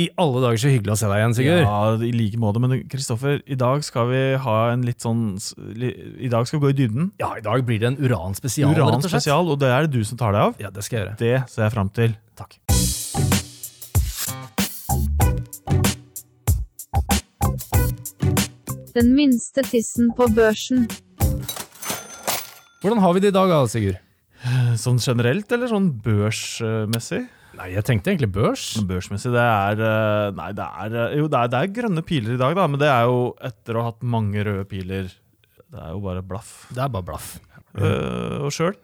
I alle dager så hyggelig å se deg igjen, Sigurd. Ja, i like måte. Men Kristoffer, i dag skal vi ha en litt sånn s- li, I dag skal vi gå i dybden. Ja, i dag blir det en uranspesial, Uran rett og slett. spesial, og det er det du som tar deg av. Ja, det skal jeg gjøre. Det ser jeg fram til. Takk. Den minste tissen på børsen. Hvordan har vi det i dag, da, Sigurd? Sånn generelt, eller sånn børsmessig? Sånn Nei, jeg tenkte egentlig børs. Børsmessig, det er eh, Nei, det er eh, Jo, det er, det er grønne piler i dag, da, men det er jo etter å ha hatt mange røde piler. Det er jo bare blaff. Det er bare blaff. Eh, og sjøl?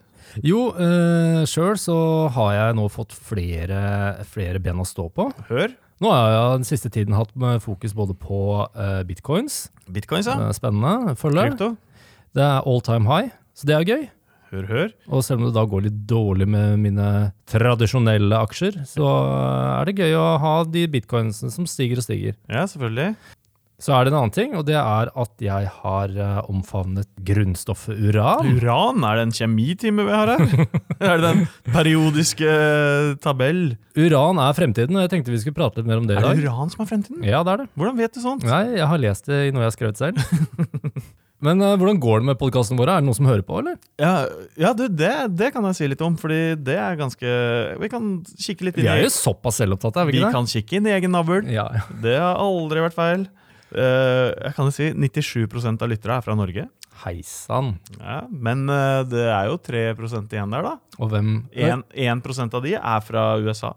Jo, øh, sjøl så har jeg nå fått flere, flere ben å stå på. Hør. Nå har jeg den siste tiden hatt med fokus både på øh, bitcoins, Bitcoins, ja. øh, spennende, følger. Krypto. Det er all time high, så det er gøy. Hør, hør. Og selv om det da går litt dårlig med mine tradisjonelle aksjer, så er det gøy å ha de bitcoinsene som stiger og stiger. Ja, selvfølgelig. Så er det en annen ting, og det er at jeg har eh, omfavnet grunnstoffet uran. Uran? Er det en kjemitime vi har her? er det den periodiske tabell? Uran er fremtiden, og jeg tenkte vi skulle prate litt mer om det i Er dag. det uran som er fremtiden? Ja, det er det. Hvordan vet du sånt? Nei, jeg har lest det i noe jeg har skrevet selv. Men eh, hvordan går det med podkasten vår? Er det noen som hører på, eller? Ja, ja du, det, det kan jeg si litt om, fordi det er ganske Vi kan kikke litt Vi inn er i jo såpass selvopptatt, er vi Vi ikke det? kan kikke inn i egen navl. Ja, ja. Det har aldri vært feil. Eh, jeg kan jo si 97 av lyttere er fra Norge. Hei sann. Ja, men eh, det er jo 3 igjen der, da. Og hvem 1, 1 av de er fra USA.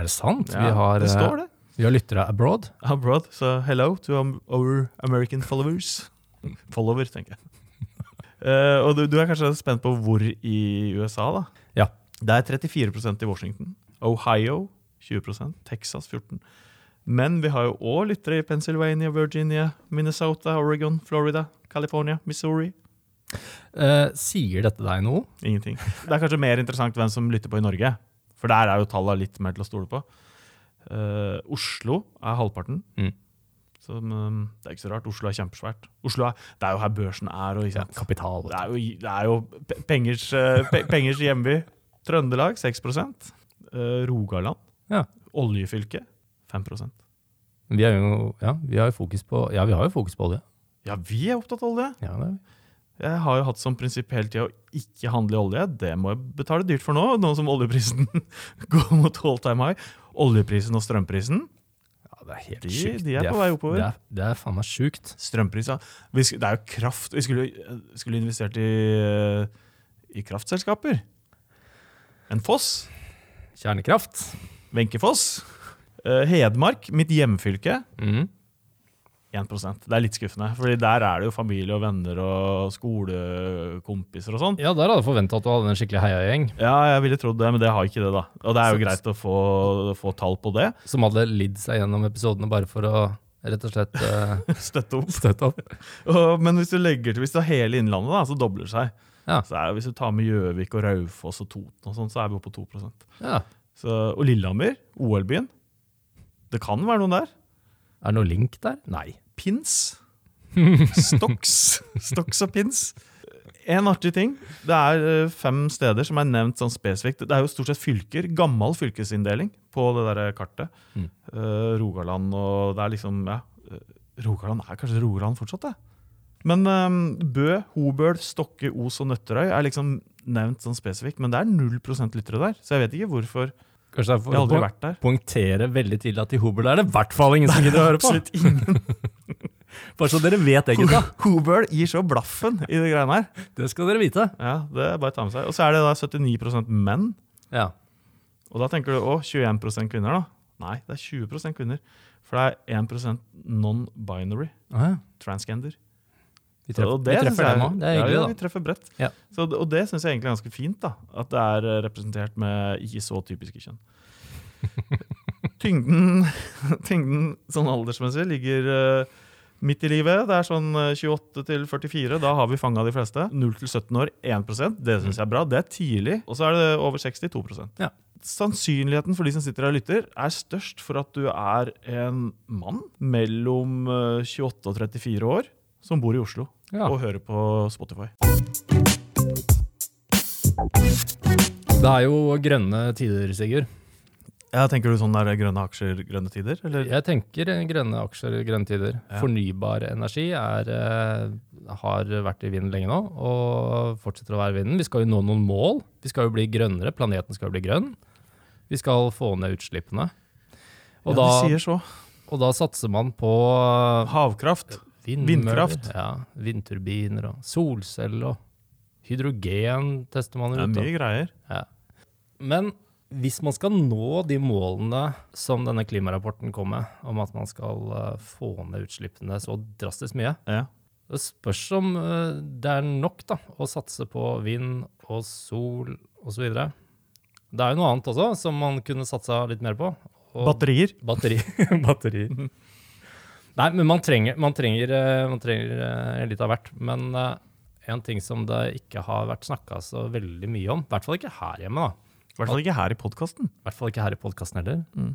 Er det sant? Ja, vi, har, det eh, står det. vi har lyttere abroad. Abroad, so hello to am- our American followers. Follower, tenker jeg. Eh, og du, du er kanskje spent på hvor i USA, da? Ja. Det er 34 i Washington. Ohio 20 Texas 14 Men vi har jo òg lyttere i Pennsylvania, Virginia, Minnesota, Oregon, Florida, California, Missouri. Eh, sier dette deg noe? Ingenting. Det er kanskje mer interessant hvem som lytter på i Norge, for der er jo tallene litt mer til å stole på. Eh, Oslo er halvparten. Mm. Så, men, det er ikke så rart. Oslo er kjempesvært. Oslo er, det er jo her børsen er. Og, ikke sant? Kapital. Det er jo, det er jo pe- pengers, eh, pe- pengers hjemby. Trøndelag 6 eh, Rogaland. Ja. Oljefylke 5 Vi, er jo, ja, vi har jo fokus på Ja, vi har jo fokus på olje. Ja, vi er opptatt av olje! Ja, det er vi. Jeg har jo hatt som prinsipp hele tida å ikke handle i olje. Det må jeg betale dyrt for nå, nå som oljeprisen går mot all time high. Oljeprisen og strømprisen. ja, det er helt De- sjukt. de er Det på vei oppover. Det er, det er faen meg sjukt. Strømprisen vi sk Det er jo kraft. Vi skulle, skulle investert i, eh, i kraftselskaper. En Foss. Kjernekraft. Wenche Foss. Eh, Hedmark, mitt hjemfylke. Mm. 1 Det er litt skuffende, Fordi der er det jo familie og venner og skolekompiser og sånn. Ja, der hadde jeg forventa at du hadde en skikkelig heiagjeng Ja, jeg ville trodd det, men det har ikke det, da. Og det er jo Så- greit å få, få tall på det. som hadde lidd seg gjennom episodene bare for å rett og slett eh, Støtte opp. støtte opp. Og- Men hvis du legger til, hvis du har hele Innlandet, da, så dobler det seg. Ja. Så er, det- hvis du tar med Gjøvik og Raufoss og Toten, og sånn, så er vi oppe på 2 Ja. så, Og Lillehammer, OL-byen. Det kan være noen der. Er det noe link der? Nei. Pins. Stoks. Stoks og pins. En artig ting. Det er eh, fem steder som er nevnt sånn spesifikt. Det er jo stort sett fylker. Gammel fylkesinndeling på det der kartet. Mm. Eh, Rogaland og Det er liksom Ja. eh, Rogaland er kanskje Rogaland fortsatt, det. Men eh, Bø, Hobøl, Stokke, Os og Nøtterøy er liksom nevnt sånn spesifikt. Men det er 0 lyttere der, så jeg vet ikke hvorfor. Kanskje det er Jeg har aldri for å vært der. poengtere veldig tidlig at i Hobøl er det i hvert fall ingen som gidder å høre på. Absolutt ingen. Bare så dere vet det, gutta. Hobøl gir så blaffen i de greiene her. Det skal dere vite. Ja, det er bare å ta med seg. Og så er det da 79 menn. Ja. Og da tenker du å, 21 kvinner, da. Nei, det er 20 kvinner. For det er 1 non-binary. Ah, ja. Transgender. Vi treffer, Og vi synes treffer jeg- dem òg. Det er hyggelig, ja, da. ja, vi treffer bredt. Ja. Så, og det syns jeg egentlig er ganske fint. da, At det er eh, representert med ikke så typiske kjønn. tyngden, tyngden sånn aldersmessig ligger eh, midt i livet. Det er sånn eh, 28 til 44. Da har vi fanga de fleste. 0 til 17 år 1 Det syns jeg er bra. Det er tidlig. Og så er det over 62 Mm. Ja. Sannsynligheten for de som sitter her og lytter, er størst for at du er en mann mellom eh, 28 og 34 år som bor i Oslo Ja. og hører på Spotify. Det er jo grønne tider, Sigurd. Ja, tenker du sånn der grønne aksjer, grønne tider? Eller? Jeg tenker eh, grønne aksjer, grønne tider. Ja. Fornybar energi er, eh, har vært i vinden lenge nå, og fortsetter å være i vinden. Vi skal jo nå noen mål. Vi skal jo bli grønnere, planeten skal bli grønn. Vi skal få ned utslippene. Og, ja, de da, sier så. og da satser man på eh, Havkraft. vindmøller, Vindkraft. Ja, vindturbiner og solceller og hydrogen tester man Det er ut. da. mye greier. Men hvis man skal nå de målene som denne klimarapporten kom med, om at man skal eh, få ned utslippene så drastisk mye, Ja. det spørs om eh, det er nok da, å satse på vind og sol osv. Det er jo noe annet også som man kunne satsa litt mer på. og- Batterier. Batteri. Batteri. Nei, men man trenger, man trenger, eh, man trenger eh, litt av hvert. Men eh, en ting som det ikke har vært snakka så veldig mye om, i hvert fall ikke her hjemme, da. I hvert fall ikke her i podkasten. I hvert fall ikke her i podkasten heller. Mm.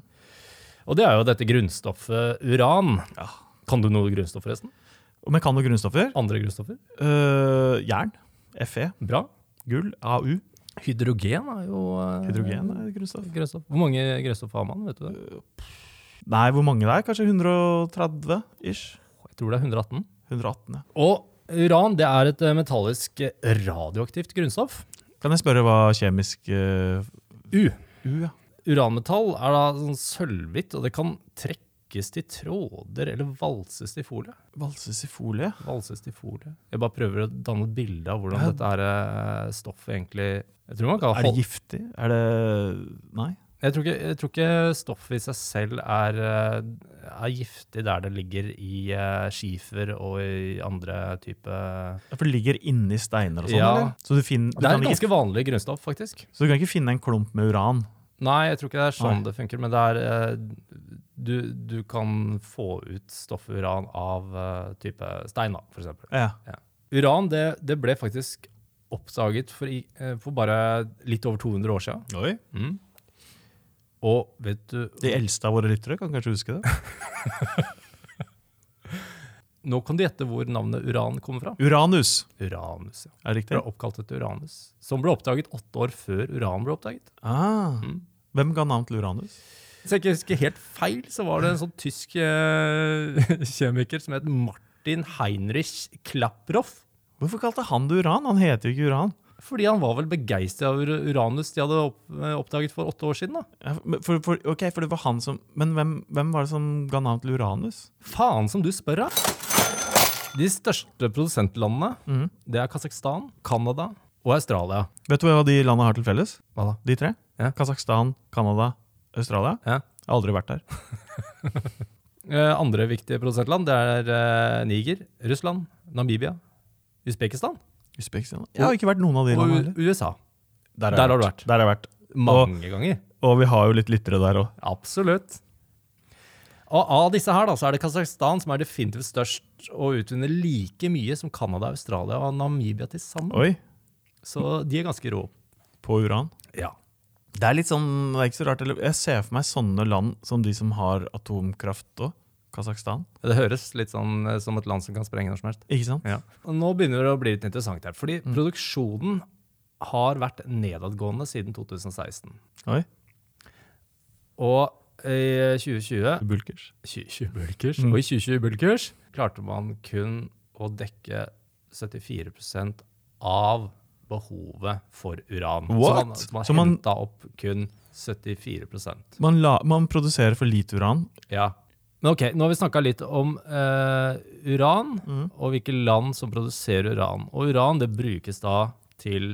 Og det er jo dette grunnstoffet uran. Ja. Kan du noe grunnstoff, forresten? Men kan du grunnstoffer? Andre grunnstoffer? Eh, jern. Fe. Bra. Gull. AU. Hydrogen er jo eh, Hydrogen Øh. er grunnstoff. grunnstoff. Hvor mange grunnstoff har man? vet du det? Nei, hvor mange det er? Kanskje 130 ish? Jeg tror det er 118. 118, ja. Og uran det er et eh, metallisk eh, radioaktivt grunnstoff. Kan jeg spørre hva kjemisk eh, U. U, ja. Uranmetall er da sånn sølvhvitt, og det kan trekkes til tråder eller valses til folie. Valses i folie? Valses til folie. Jeg bare prøver å danne et bilde av hvordan Ja. dette her eh, stoffet egentlig Jeg tror, man kan Er det holde, giftig? Er det Nei. jeg tror, ikke, jeg tror ikke stoffet i seg selv er, eh, er giftig der det ligger i eh, skifer og i andre type Ja, For det ligger inni steiner og sånn? Ja. eller? Så du, finner, du, Det er et kan ikke, ganske vanlig grunnstoff, faktisk. så du kan ikke finne en klump med uran? Nei, jeg tror ikke det er sånn Nei. det funker, men det er eh, du, du kan få ut stoffet uran av eh, type stein, da, for eksempel. Ja. Uran det, det ble faktisk oppdaget for, i- eh, for bare litt over 200 år siden. Oi. Mm. Og vet du De eldste av våre lyttere kan kanskje huske det. Nå kan du gjette hvor navnet uran kommer fra. Uranus, Uranus, ja. er det Det riktig? er oppkalt etter Uranus, som ble oppdaget åtte år før uran ble oppdaget. Ah. Mm. Hvem ga navn til Uranus? Hvis jeg ikke husker helt feil, så var det en sånn tysk eh, kjemiker som het Martin Heinrich Klaproff. Hvorfor kalte han det uran? Han heter jo ikke uran. Fordi han var vel begeistra over Uranus de hadde opp, eh, oppdaget for åtte år siden. da. Ja, men For, for, ok, for det var han som Men hvem, hvem var det som ga navn til Uranus? Faen som du spør, da! De største produsentlandene Mhm. det er Kasakhstan, Canada og Australia. Vet du hva de landene har til felles? Hva da? De tre? Ja. Kasakhstan, Canada, Australia? Ja. Jeg har aldri vært der. Eh, andre viktige produsentland det er eh, Niger, Russland, Namibia, Usbekistan Usbekistan? Jeg har ikke vært noen av de og landene U- heller. USA. Der, Der har du vært. Der har jeg vært. Mange ganger. Og vi har jo litt lyttere der òg. Absolutt. Og av disse her da, så er det Kasakhstan som er definitivt størst og utvinner like mye som Canada, Australia og Namibia til sammen. Oi. Så de er ganske rå. På uran. Ja. Det er litt sånn, det er ikke så rart. eller- Jeg ser for meg sånne land som de som har atomkraft òg. Kasakhstan. Det høres litt sånn eh, som et land som kan sprenge når som helst. Ikke sant? Og nå begynner det å bli litt interessant her, fordi produksjonen har vært nedadgående siden 2016. Oi. Og i 2020 Bulkers. 2020-bulkers. Og i 2020-bulkers klarte man kun å dekke 74 av behovet for uran. What? Så man, Så så man man- henta opp kun 74 Man, la, man produserer for lite uran. Ja. Men ok, nå har vi snakka litt om eh, uran, og hvilke land som produserer uran. Og uran det brukes da til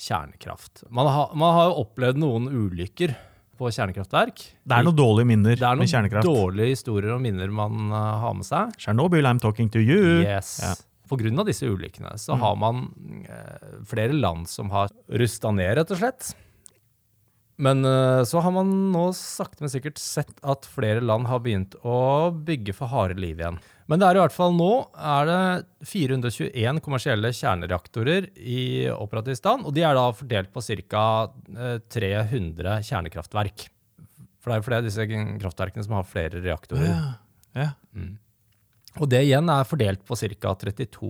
kjernekraft. Man, har- man har jo opplevd noen ulykker på kjernekraftverk. Det er noen dårlige minner Det er med noen kjernekraft. dårlige historier og minner man eh, har med seg. Tsjernobyl, I'm talking to you. Yes. Ja. På grunn av disse ulykkene så har man eh, flere land som har rusta ned, rett og slett. Men eh, så har man nå sakte, men sikkert sett at flere land har begynt å bygge for harde liv igjen. Men det er i hvert fall nå er det 421 kommersielle kjernereaktorer i operativ stand, og de er da fordelt på ca. 300 kjernekraftverk. For det er jo flere av disse kraftverkene som har flere reaktorer. Ja. Ja. Og det igjen er fordelt på ca. 32,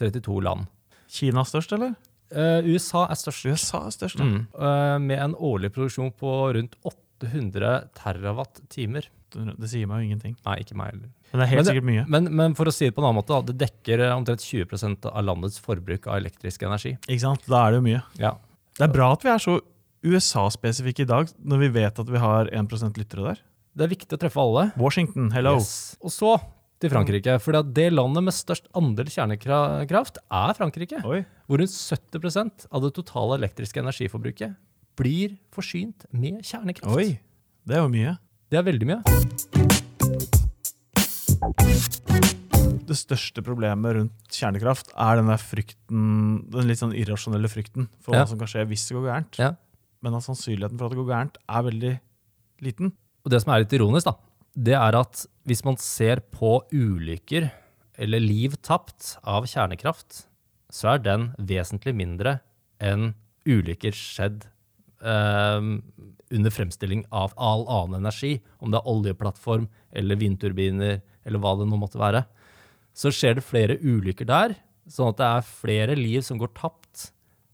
32 land. Kina størst, eller? Eh, USA er størst, USA er størst. ja. eh, med en årlig produksjon på rundt 800 terawatt-timer. Det sier meg jo ingenting. Nei, ikke meg heller. Men det er helt Mm. Men det- sikkert mye. Men, men for å si det på en annen måte, da, det dekker eh, omtrent 20 av landets forbruk av elektrisk energi. Ikke sant? Da er det jo mye. Ja. Det er bra at vi er så USA-spesifikke i dag, når vi vet at vi har 1 lyttere der. Det er viktig å treffe alle. Washington, hello! Yes. Og så til Frankrike. For det landet med størst andel kjernekraft er Frankrike. Oi. Hvor rundt 70 av det totale elektriske energiforbruket blir forsynt med kjernekraft. Oi! Det er jo mye. Det er veldig mye. Det største problemet rundt kjernekraft er den der frykten, den litt sånn irrasjonelle frykten for Ja. hva som kan skje hvis det går gærent. Ja. Men at sannsynligheten for at det går gærent, er veldig liten. Og det som er litt ironisk, da, det er at hvis man ser på ulykker eller liv tapt av kjernekraft, så er den vesentlig mindre enn ulykker skjedd eh, under fremstilling av all annen energi, om det er oljeplattform eller vindturbiner eller hva det nå måtte være. Så skjer det flere ulykker der, sånn at det er flere liv som går tapt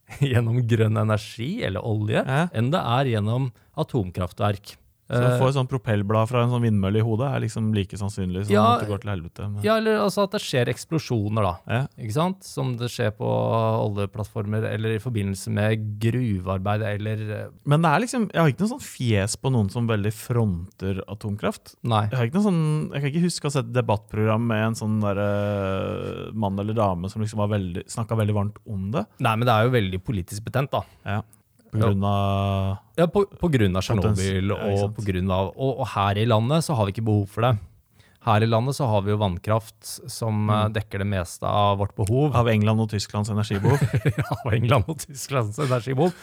gjennom grønn energi eller olje, Ja. enn det er gjennom atomkraftverk. Så Eh. å få et sånt propellblad fra en sånn vindmølle i hodet er liksom like sannsynlig som Ja. at det går til helvete. Men, Ja, eller altså at det skjer eksplosjoner, da. Ja. Ikke sant? Som det skjer på oljeplattformer eller i forbindelse med gruvearbeid eller eh, men det er liksom, jeg har ikke noe sånn fjes på noen som veldig fronter atomkraft. Nei. Jeg, har ikke noe sånn, jeg kan ikke huske å ha sett et debattprogram med en sånn der, eh, mann eller dame som liksom var veldig, snakka veldig varmt om det. Nei, men det er jo veldig politisk betent, da. Ja. På grunn av Ja, på, på grunn av Potens- Tsjernobyl ja, ikke og sant. på grunn av og, og her i landet så har vi ikke behov for det. Her i landet så har vi jo vannkraft som Mm. eh, dekker det meste av vårt behov. av England og Tysklands energibehov. av England og Tysklands energibehov.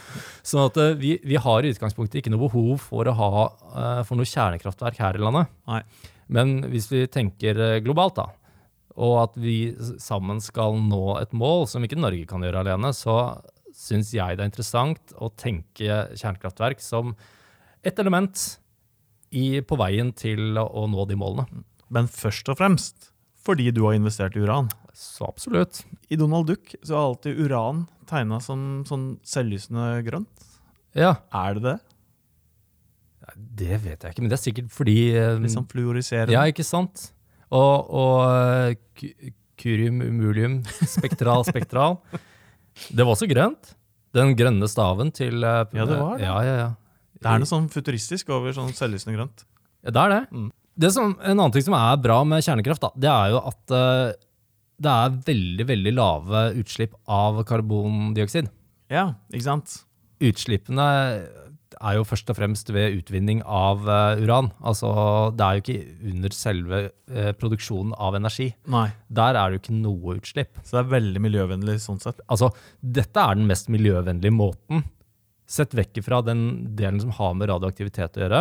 Sånn at eh, vi, vi har i utgangspunktet ikke noe behov for å ha eh, for noe kjernekraftverk her i landet. Nei. Men hvis vi tenker eh, globalt, da, og at vi s- sammen skal nå et mål som ikke Norge kan gjøre alene, så syns jeg det er interessant å tenke kjernekraftverk som et element i, på veien til å, å nå de målene. Men først og fremst fordi du har investert i uran. Så absolutt. I Donald Duck så er alltid uran tegna som sånn selvlysende grønt. Ja, Er det det? Mm. det vet jeg ikke, men det er sikkert fordi eh, Litt sånn fluoriserende? Ja, ikke sant? Og, og ku- curium umulium, spektral, spektral. Det var også grønt. Den grønne staven til eh, Ja, det var det. Ja, ja, ja. Det er noe sånn futuristisk over sånn selvlysende grønt. Ja, det er det. Mm. det som, en annen ting som er bra med kjernekraft, da, det er jo at eh, det er veldig, veldig lave utslipp av karbondioksid. Ja, ikke sant? Utslippene er jo først og fremst ved utvinning av eh, uran. Altså, det er jo ikke under selve eh, produksjonen av energi. Nei. Der er det jo ikke noe utslipp. Så det er veldig miljøvennlig sånn sett. Altså, dette er den mest miljøvennlige måten. Sett vekk fra den delen som har med radioaktivitet å gjøre,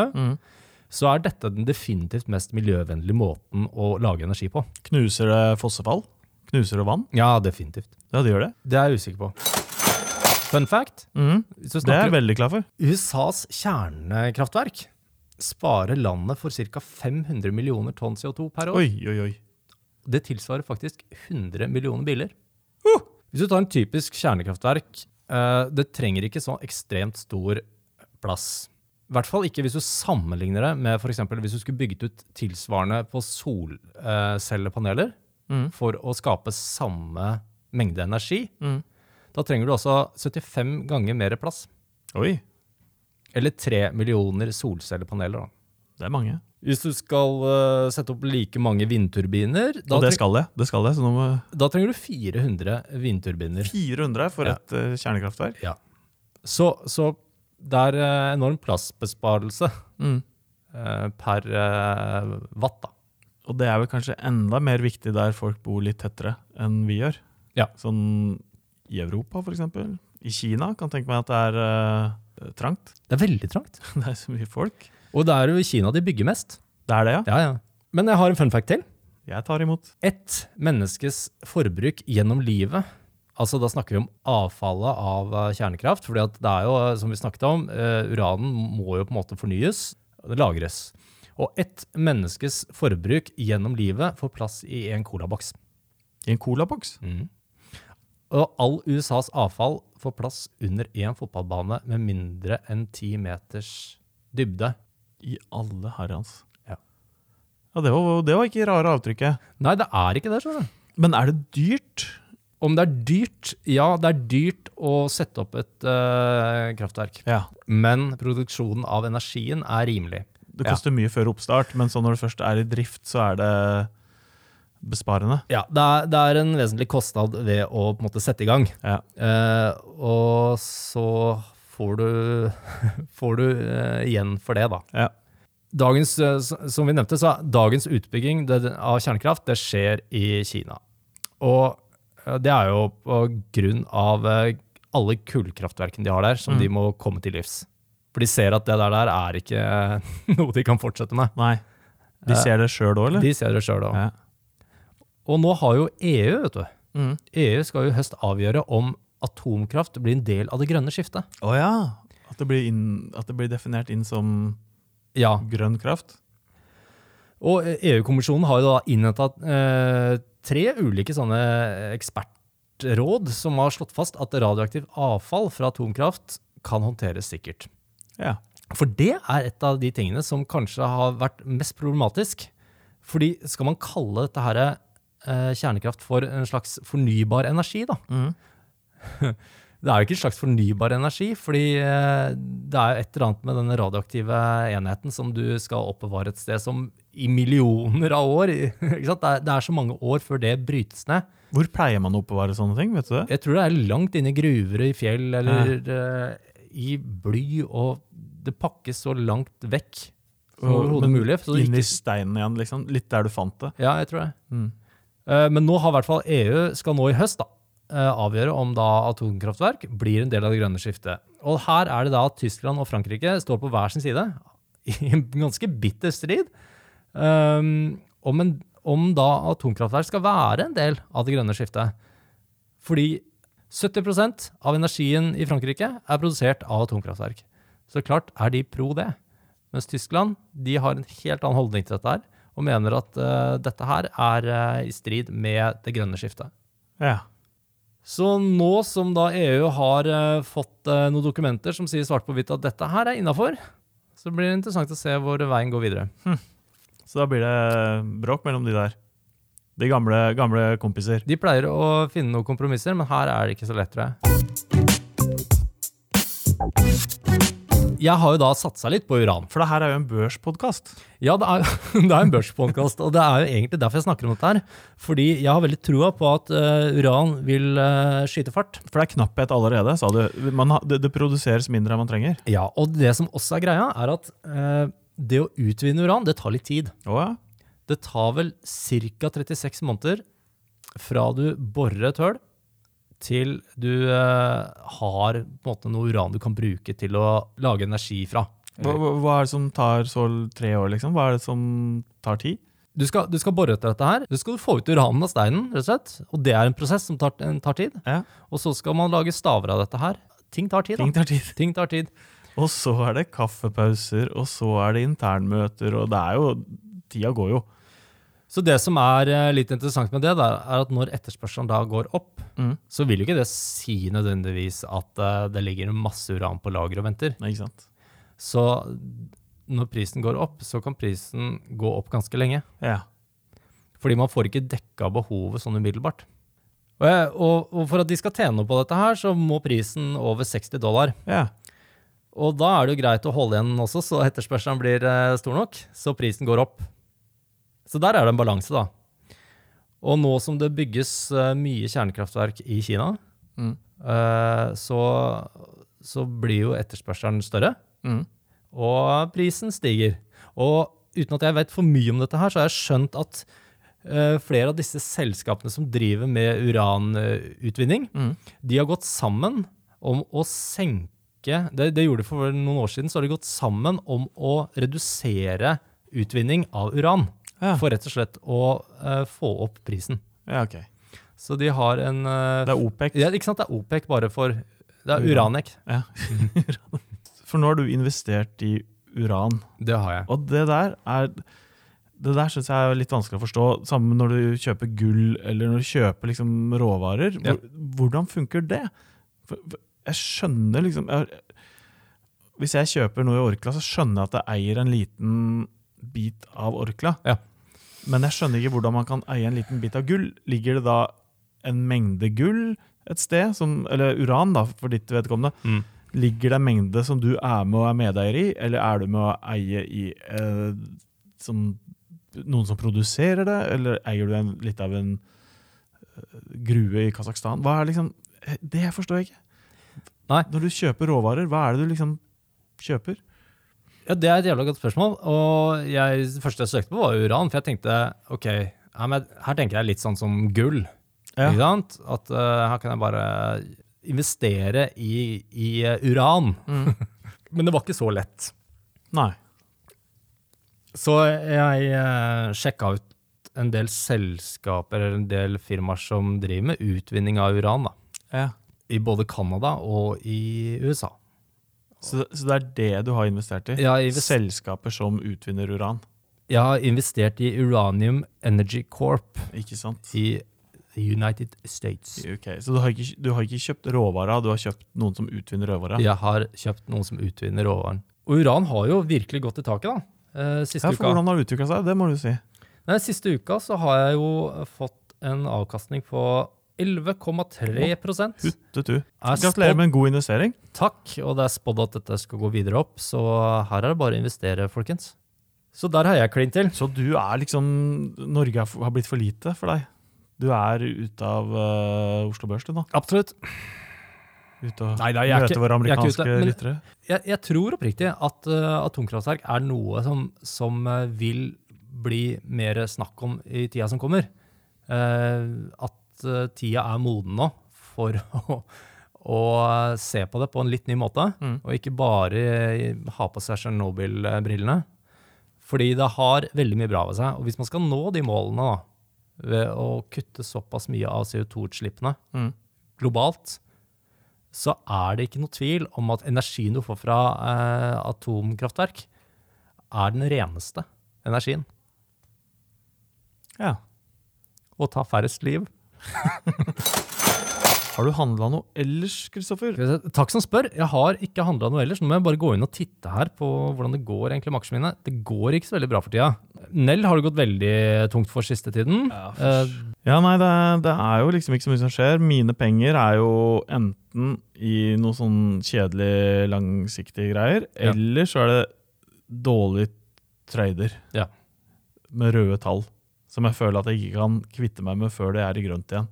så er dette den definitivt mest miljøvennlige måten å lage energi på. Knuser det fossefall? Knuser det vann? Ja, definitivt. Ja, det gjør det. Det er jeg usikker på. Mm. Fun fact så Det er snakker jeg veldig klar for. USAs kjernekraftverk sparer landet for ca. 500 millioner tonn CO2 per år. Oi, oi, oi. Det tilsvarer faktisk 100 millioner biler. Hvis du tar en typisk kjernekraftverk, eh, det trenger ikke så ekstremt stor plass. I hvert fall ikke hvis du sammenligner det med f.eks. hvis du skulle bygget ut tilsvarende på solcellepaneler for å skape samme mengde energi. Da trenger du altså 75 ganger mer plass. Oi, Eller 3 millioner solcellepaneler. da. det er mange. Hvis du skal eh, sette opp like mange vindturbiner, da, Og det treng- skal jeg. Det skal jeg, så nå må da trenger du 400 vindturbiner. 400 for et eh, kjernekraftverk. Ja. Så, så det er eh, enorm plassbesparelse Mm. eh, per eh, watt, da. Og det er vel kanskje enda mer viktig der folk bor litt tettere enn vi gjør. Ja. Sånn i Europa, for eksempel. I Kina kan tenke meg at det er eh, trangt. Det er veldig trangt. Det er så mye folk. Og det er jo i Kina de bygger mest. Det er det, ja. Ja, ja. Men jeg har en fun fact til. Jeg tar imot. Ett menneskes forbruk gjennom livet, altså da snakker vi om avfallet av eh, kjernekraft, fordi at det er jo, eh, som vi snakket om, eh, uranen må jo på en måte fornyes, og det lagres. Og ett menneskes forbruk gjennom livet får plass i en colaboks. I en colaboks. Og all USAs avfall får plass under én fotballbane med mindre enn ti meters dybde. I alle herrans. Ja. Ja, det var, det var ikke rare avtrykket. Nei, det er ikke det, skjønner du. Men er det dyrt? Om det er dyrt? Ja, det er dyrt å sette opp et eh, kraftverk. Ja. Men produksjonen av energien er rimelig. Det Ja. koster mye før oppstart, men så når det først er i drift, så er det besparende. Ja, det er, det er en vesentlig kostnad ved å på en måte sette i gang. Ja. Eh, og så får du, får du eh, igjen for det, da. Ja. Dagens, eh, s- som vi nevnte, så er dagens utbygging det, det- av kjernekraft det skjer i Kina. Og eh, det er jo på grunn av eh, alle kullkraftverkene de har der, Mm. som de må komme til livs. For de ser at det der, der er ikke noe de kan fortsette med. Nei. De ser det sjøl òg, eller? Eh, De ser det sjøl òg. Ja. Og nå har jo EU, vet du. Mm. EU skal jo i høst avgjøre om atomkraft blir en del av det grønne skiftet. Å ja. At det, blir inn, at det blir definert inn som Ja, grønn kraft? Og eh, EU-kommisjonen har jo da innhenta eh, tre ulike sånne ekspertråd som har slått fast at radioaktivt avfall fra atomkraft kan håndteres sikkert. Ja. For det er et av de tingene som kanskje har vært mest problematisk. Fordi skal man kalle dette her eh, kjernekraft for en slags fornybar energi, da? Det er jo ikke en slags fornybar energi, fordi eh, det er jo et eller annet med denne radioaktive enheten som du skal oppbevare et sted som i millioner av år ikke sant? Det, er, det er så mange år før det brytes ned. Hvor pleier man å oppbevare sånne ting? vet du det? Jeg tror det er langt inne i gruver og i fjell eller eh, i bly, og det pakkes så langt vekk som overhodet Men mulig. Så det Inn i ikke, steinen igjen, liksom. Litt der du fant det. ja, jeg tror det. Eh, men nå har i hvert fall EU skal nå i høst da, eh, avgjøre om da atomkraftverk blir en del av det grønne skiftet. Og her er det da at Tyskland og Frankrike står på hver sin side i en ganske bitter strid ehm, om, en, om da atomkraftverk skal være en del av det grønne skiftet. Fordi 70 av energien i Frankrike er produsert av atomkraftverk. Så klart er de pro det. Mens Tyskland de har en helt annen holdning til dette her, og mener at eh, dette her er eh, i strid med det grønne skiftet. Ja. Så nå som da EU har eh, fått eh, noen dokumenter som sier svart på hvitt at dette her er innafor, så blir det interessant å se hvor veien går videre. Så da blir det bråk mellom de der. De gamle, gamle kompiser. De pleier å finne noen kompromisser, men her er det ikke så lett, tror jeg. Jeg har jo da satsa litt på uran. For det her er jo en børspodkast. Ja, det er, det er en børspodkast, og det er jo egentlig derfor jeg snakker om dette her. Fordi jeg har veldig trua på at eh, uran vil eh, skyte fart. For det er knapphet allerede, sa du. Man, har- det, det produseres mindre enn man trenger. Ja, og det som også er greia, er at eh, det å utvinne uran, det tar litt tid. Å ja. Det tar vel ca. 36 måneder fra du borer et høl, til du eh, har på en måte noe uran du kan bruke til å lage energi fra. Hva, hva, hva er det som tar så tre år, liksom? Hva er det som tar tid? Du skal, du skal bore etter dette her. Du skal få ut uranen av steinen, rett og slett. Og det er en prosess som tar, en tar tid. Ja. Og så skal man lage staver av dette her. Ting tar tid, da. Ting tar tid. Ting tar tid. Og så er det kaffepauser, og så er det internmøter, og det er jo Tida går jo. Så det som er eh, litt interessant med det, da, er at når etterspørselen da går opp, Mm. så vil jo ikke det si nødvendigvis at eh, det ligger masse uran på lager og venter. Nei, ikke sant? Så når prisen går opp, så kan prisen gå opp ganske lenge. Ja. Fordi man får ikke dekka behovet sånn umiddelbart. Og, jeg, og, og for at de skal tjene noe på dette her, så må prisen over 60 dollar. ja. Og da er det jo greit å holde igjen også, så etterspørselen blir eh, stor nok, så prisen går opp. Så der er det en balanse, da. Og nå som det bygges eh, mye kjernekraftverk i Kina, Mm. eh, så, så blir jo etterspørselen større, Mm. og prisen stiger. Og uten at jeg vet for mye om dette her, så har jeg skjønt at eh, flere av disse selskapene som driver med uranutvinning, Mm. de har gått sammen om å senke det, det gjorde de for noen år siden. Så har de gått sammen om å redusere utvinning av uran. Ja. For rett og slett å eh, få opp prisen. ja, ok. Så de har en eh, Det er OPEC. ja, Ikke sant, det er OPEC bare for Det er Uran. Uranek. Ja. For nå har du investert i uran, Det har jeg. og det der er det der synes jeg er litt vanskelig å forstå, sammen når du kjøper gull eller når du kjøper liksom råvarer. Ja. Hvor, hvordan funker det? For, for, jeg skjønner liksom jeg, Hvis jeg kjøper noe i Orkla, så skjønner jeg at jeg eier en liten bit av Orkla. Ja. Men jeg skjønner ikke hvordan man kan eie en liten bit av gull. Ligger det da en mengde gull et sted, som, eller uran da, for ditt vedkommende, Mm. ligger det en mengde som du er med og er medeier i, eller er du med å eie i eh, som, noen som produserer det, eller eier du en, litt av en eh, grue i Kasakhstan? Hva er liksom, det forstår jeg ikke. Nei. Når du kjøper råvarer, hva er det du liksom kjøper? Ja, Det er et jævla godt spørsmål. Og jeg, det første jeg søkte på, var uran. For jeg tenkte ok, ja, men her tenker jeg litt sånn som gull. Ja. Ikke sant? At eh, her kan jeg bare investere i, i eh, uran. Mm. men det var ikke så lett. Nei. Så jeg eh, sjekka ut en del selskaper eller en del firmaer som driver med utvinning av uran. da. Ja. I både Canada og i USA. Så, så det er det du har investert i? Jeg har invest- Selskaper som utvinner uran, Jeg har investert i Uranium Energy Corp ikke sant? i United States. Ok, Så du har, ikke, du har ikke kjøpt råvara, du har kjøpt noen som utvinner råvara? Jeg har kjøpt noen som utvinner råvaren. Og uran har jo virkelig gått i taket, da. Eh, Siste, Ja, for uka. hvordan har det utvikla seg? Det må du si. Nei, siste uka så har jeg jo fått en avkastning på 11,3 Er Huttet du. Gratulerer spådd, med en god investering. Takk. Og det er spådd at dette skal gå videre opp, så her er det bare å investere, folkens. Så der har jeg klin til. Så du er liksom Norge er f- har blitt for lite for deg. Du er ute av eh, Oslo Børs, du nå. Absolutt. Ute og Nei, nei, jeg er møter ikke- våre jeg er ikke amerikanske ute, men- lyttere. Jeg, jeg tror oppriktig at eh, atomkraftverk er noe som, som eh, vil bli mer snakk om i tida som kommer. Eh, at eh, tida er moden nå for å, å eh, se på det på en litt ny måte, Mm. og ikke bare eh, ha på seg Tsjernobyl-brillene. Fordi det har veldig mye bra ved seg. Og hvis man skal nå de målene da, ved å kutte såpass mye av CO2-utslippene, Mm. globalt, så er det ikke noe tvil om at energien du får fra eh, atomkraftverk, er den reneste energien. Ja. Og tar færrest liv. Har du handla noe ellers, Kristoffer? Skal vi se, Takk som spør. Jeg har ikke handla noe ellers. Nå må jeg bare gå inn og titte her på hvordan det går egentlig med aksjene mine. Det går ikke så veldig bra for tida. Nell har det gått veldig tungt for siste tiden. Eh, Ja, nei, det, er- det er jo liksom ikke så mye som skjer. Mine penger er jo enten i noe sånn kjedelig, langsiktige greier, Ja. eller så er det dårlig trader Ja. med røde tall, som jeg føler at jeg ikke kan kvitte meg med før det er i grønt igjen.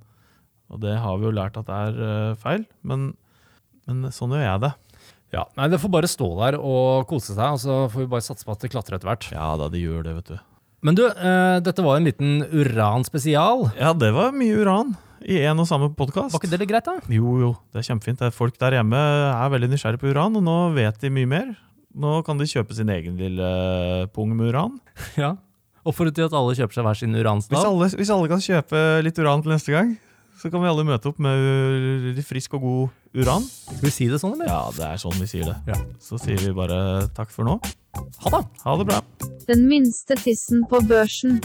Og det har vi jo lært at er eh, feil, men, men sånn gjør jeg det. ja, nei, Det får bare stå der og kose seg, og så får vi bare satse på at det klatrer etter hvert. Ja da, de gjør det, vet du. Men du, eh, dette var en liten uranspesial. Ja, det var mye uran i en og samme podkast. Var ikke det litt greit, da? Jo, jo, det er kjempefint. Det er Folk der hjemme er veldig nysgjerrige på uran, og nå vet de mye mer. Nå kan de kjøpe sin egen lille eh, pung med uran. Ja. Oppfordrer til at alle kjøper seg hver sin Hvis uranstav. alle, hvis alle kan kjøpe litt uran til neste gang, så kan vi alle møte opp med u- litt frisk og god uran. Skal vi si det sånn, eller? Ja, det er sånn vi sier det. Ja. Så sier vi bare takk for nå. Ha det! Ha det bra. Den minste tissen på børsen.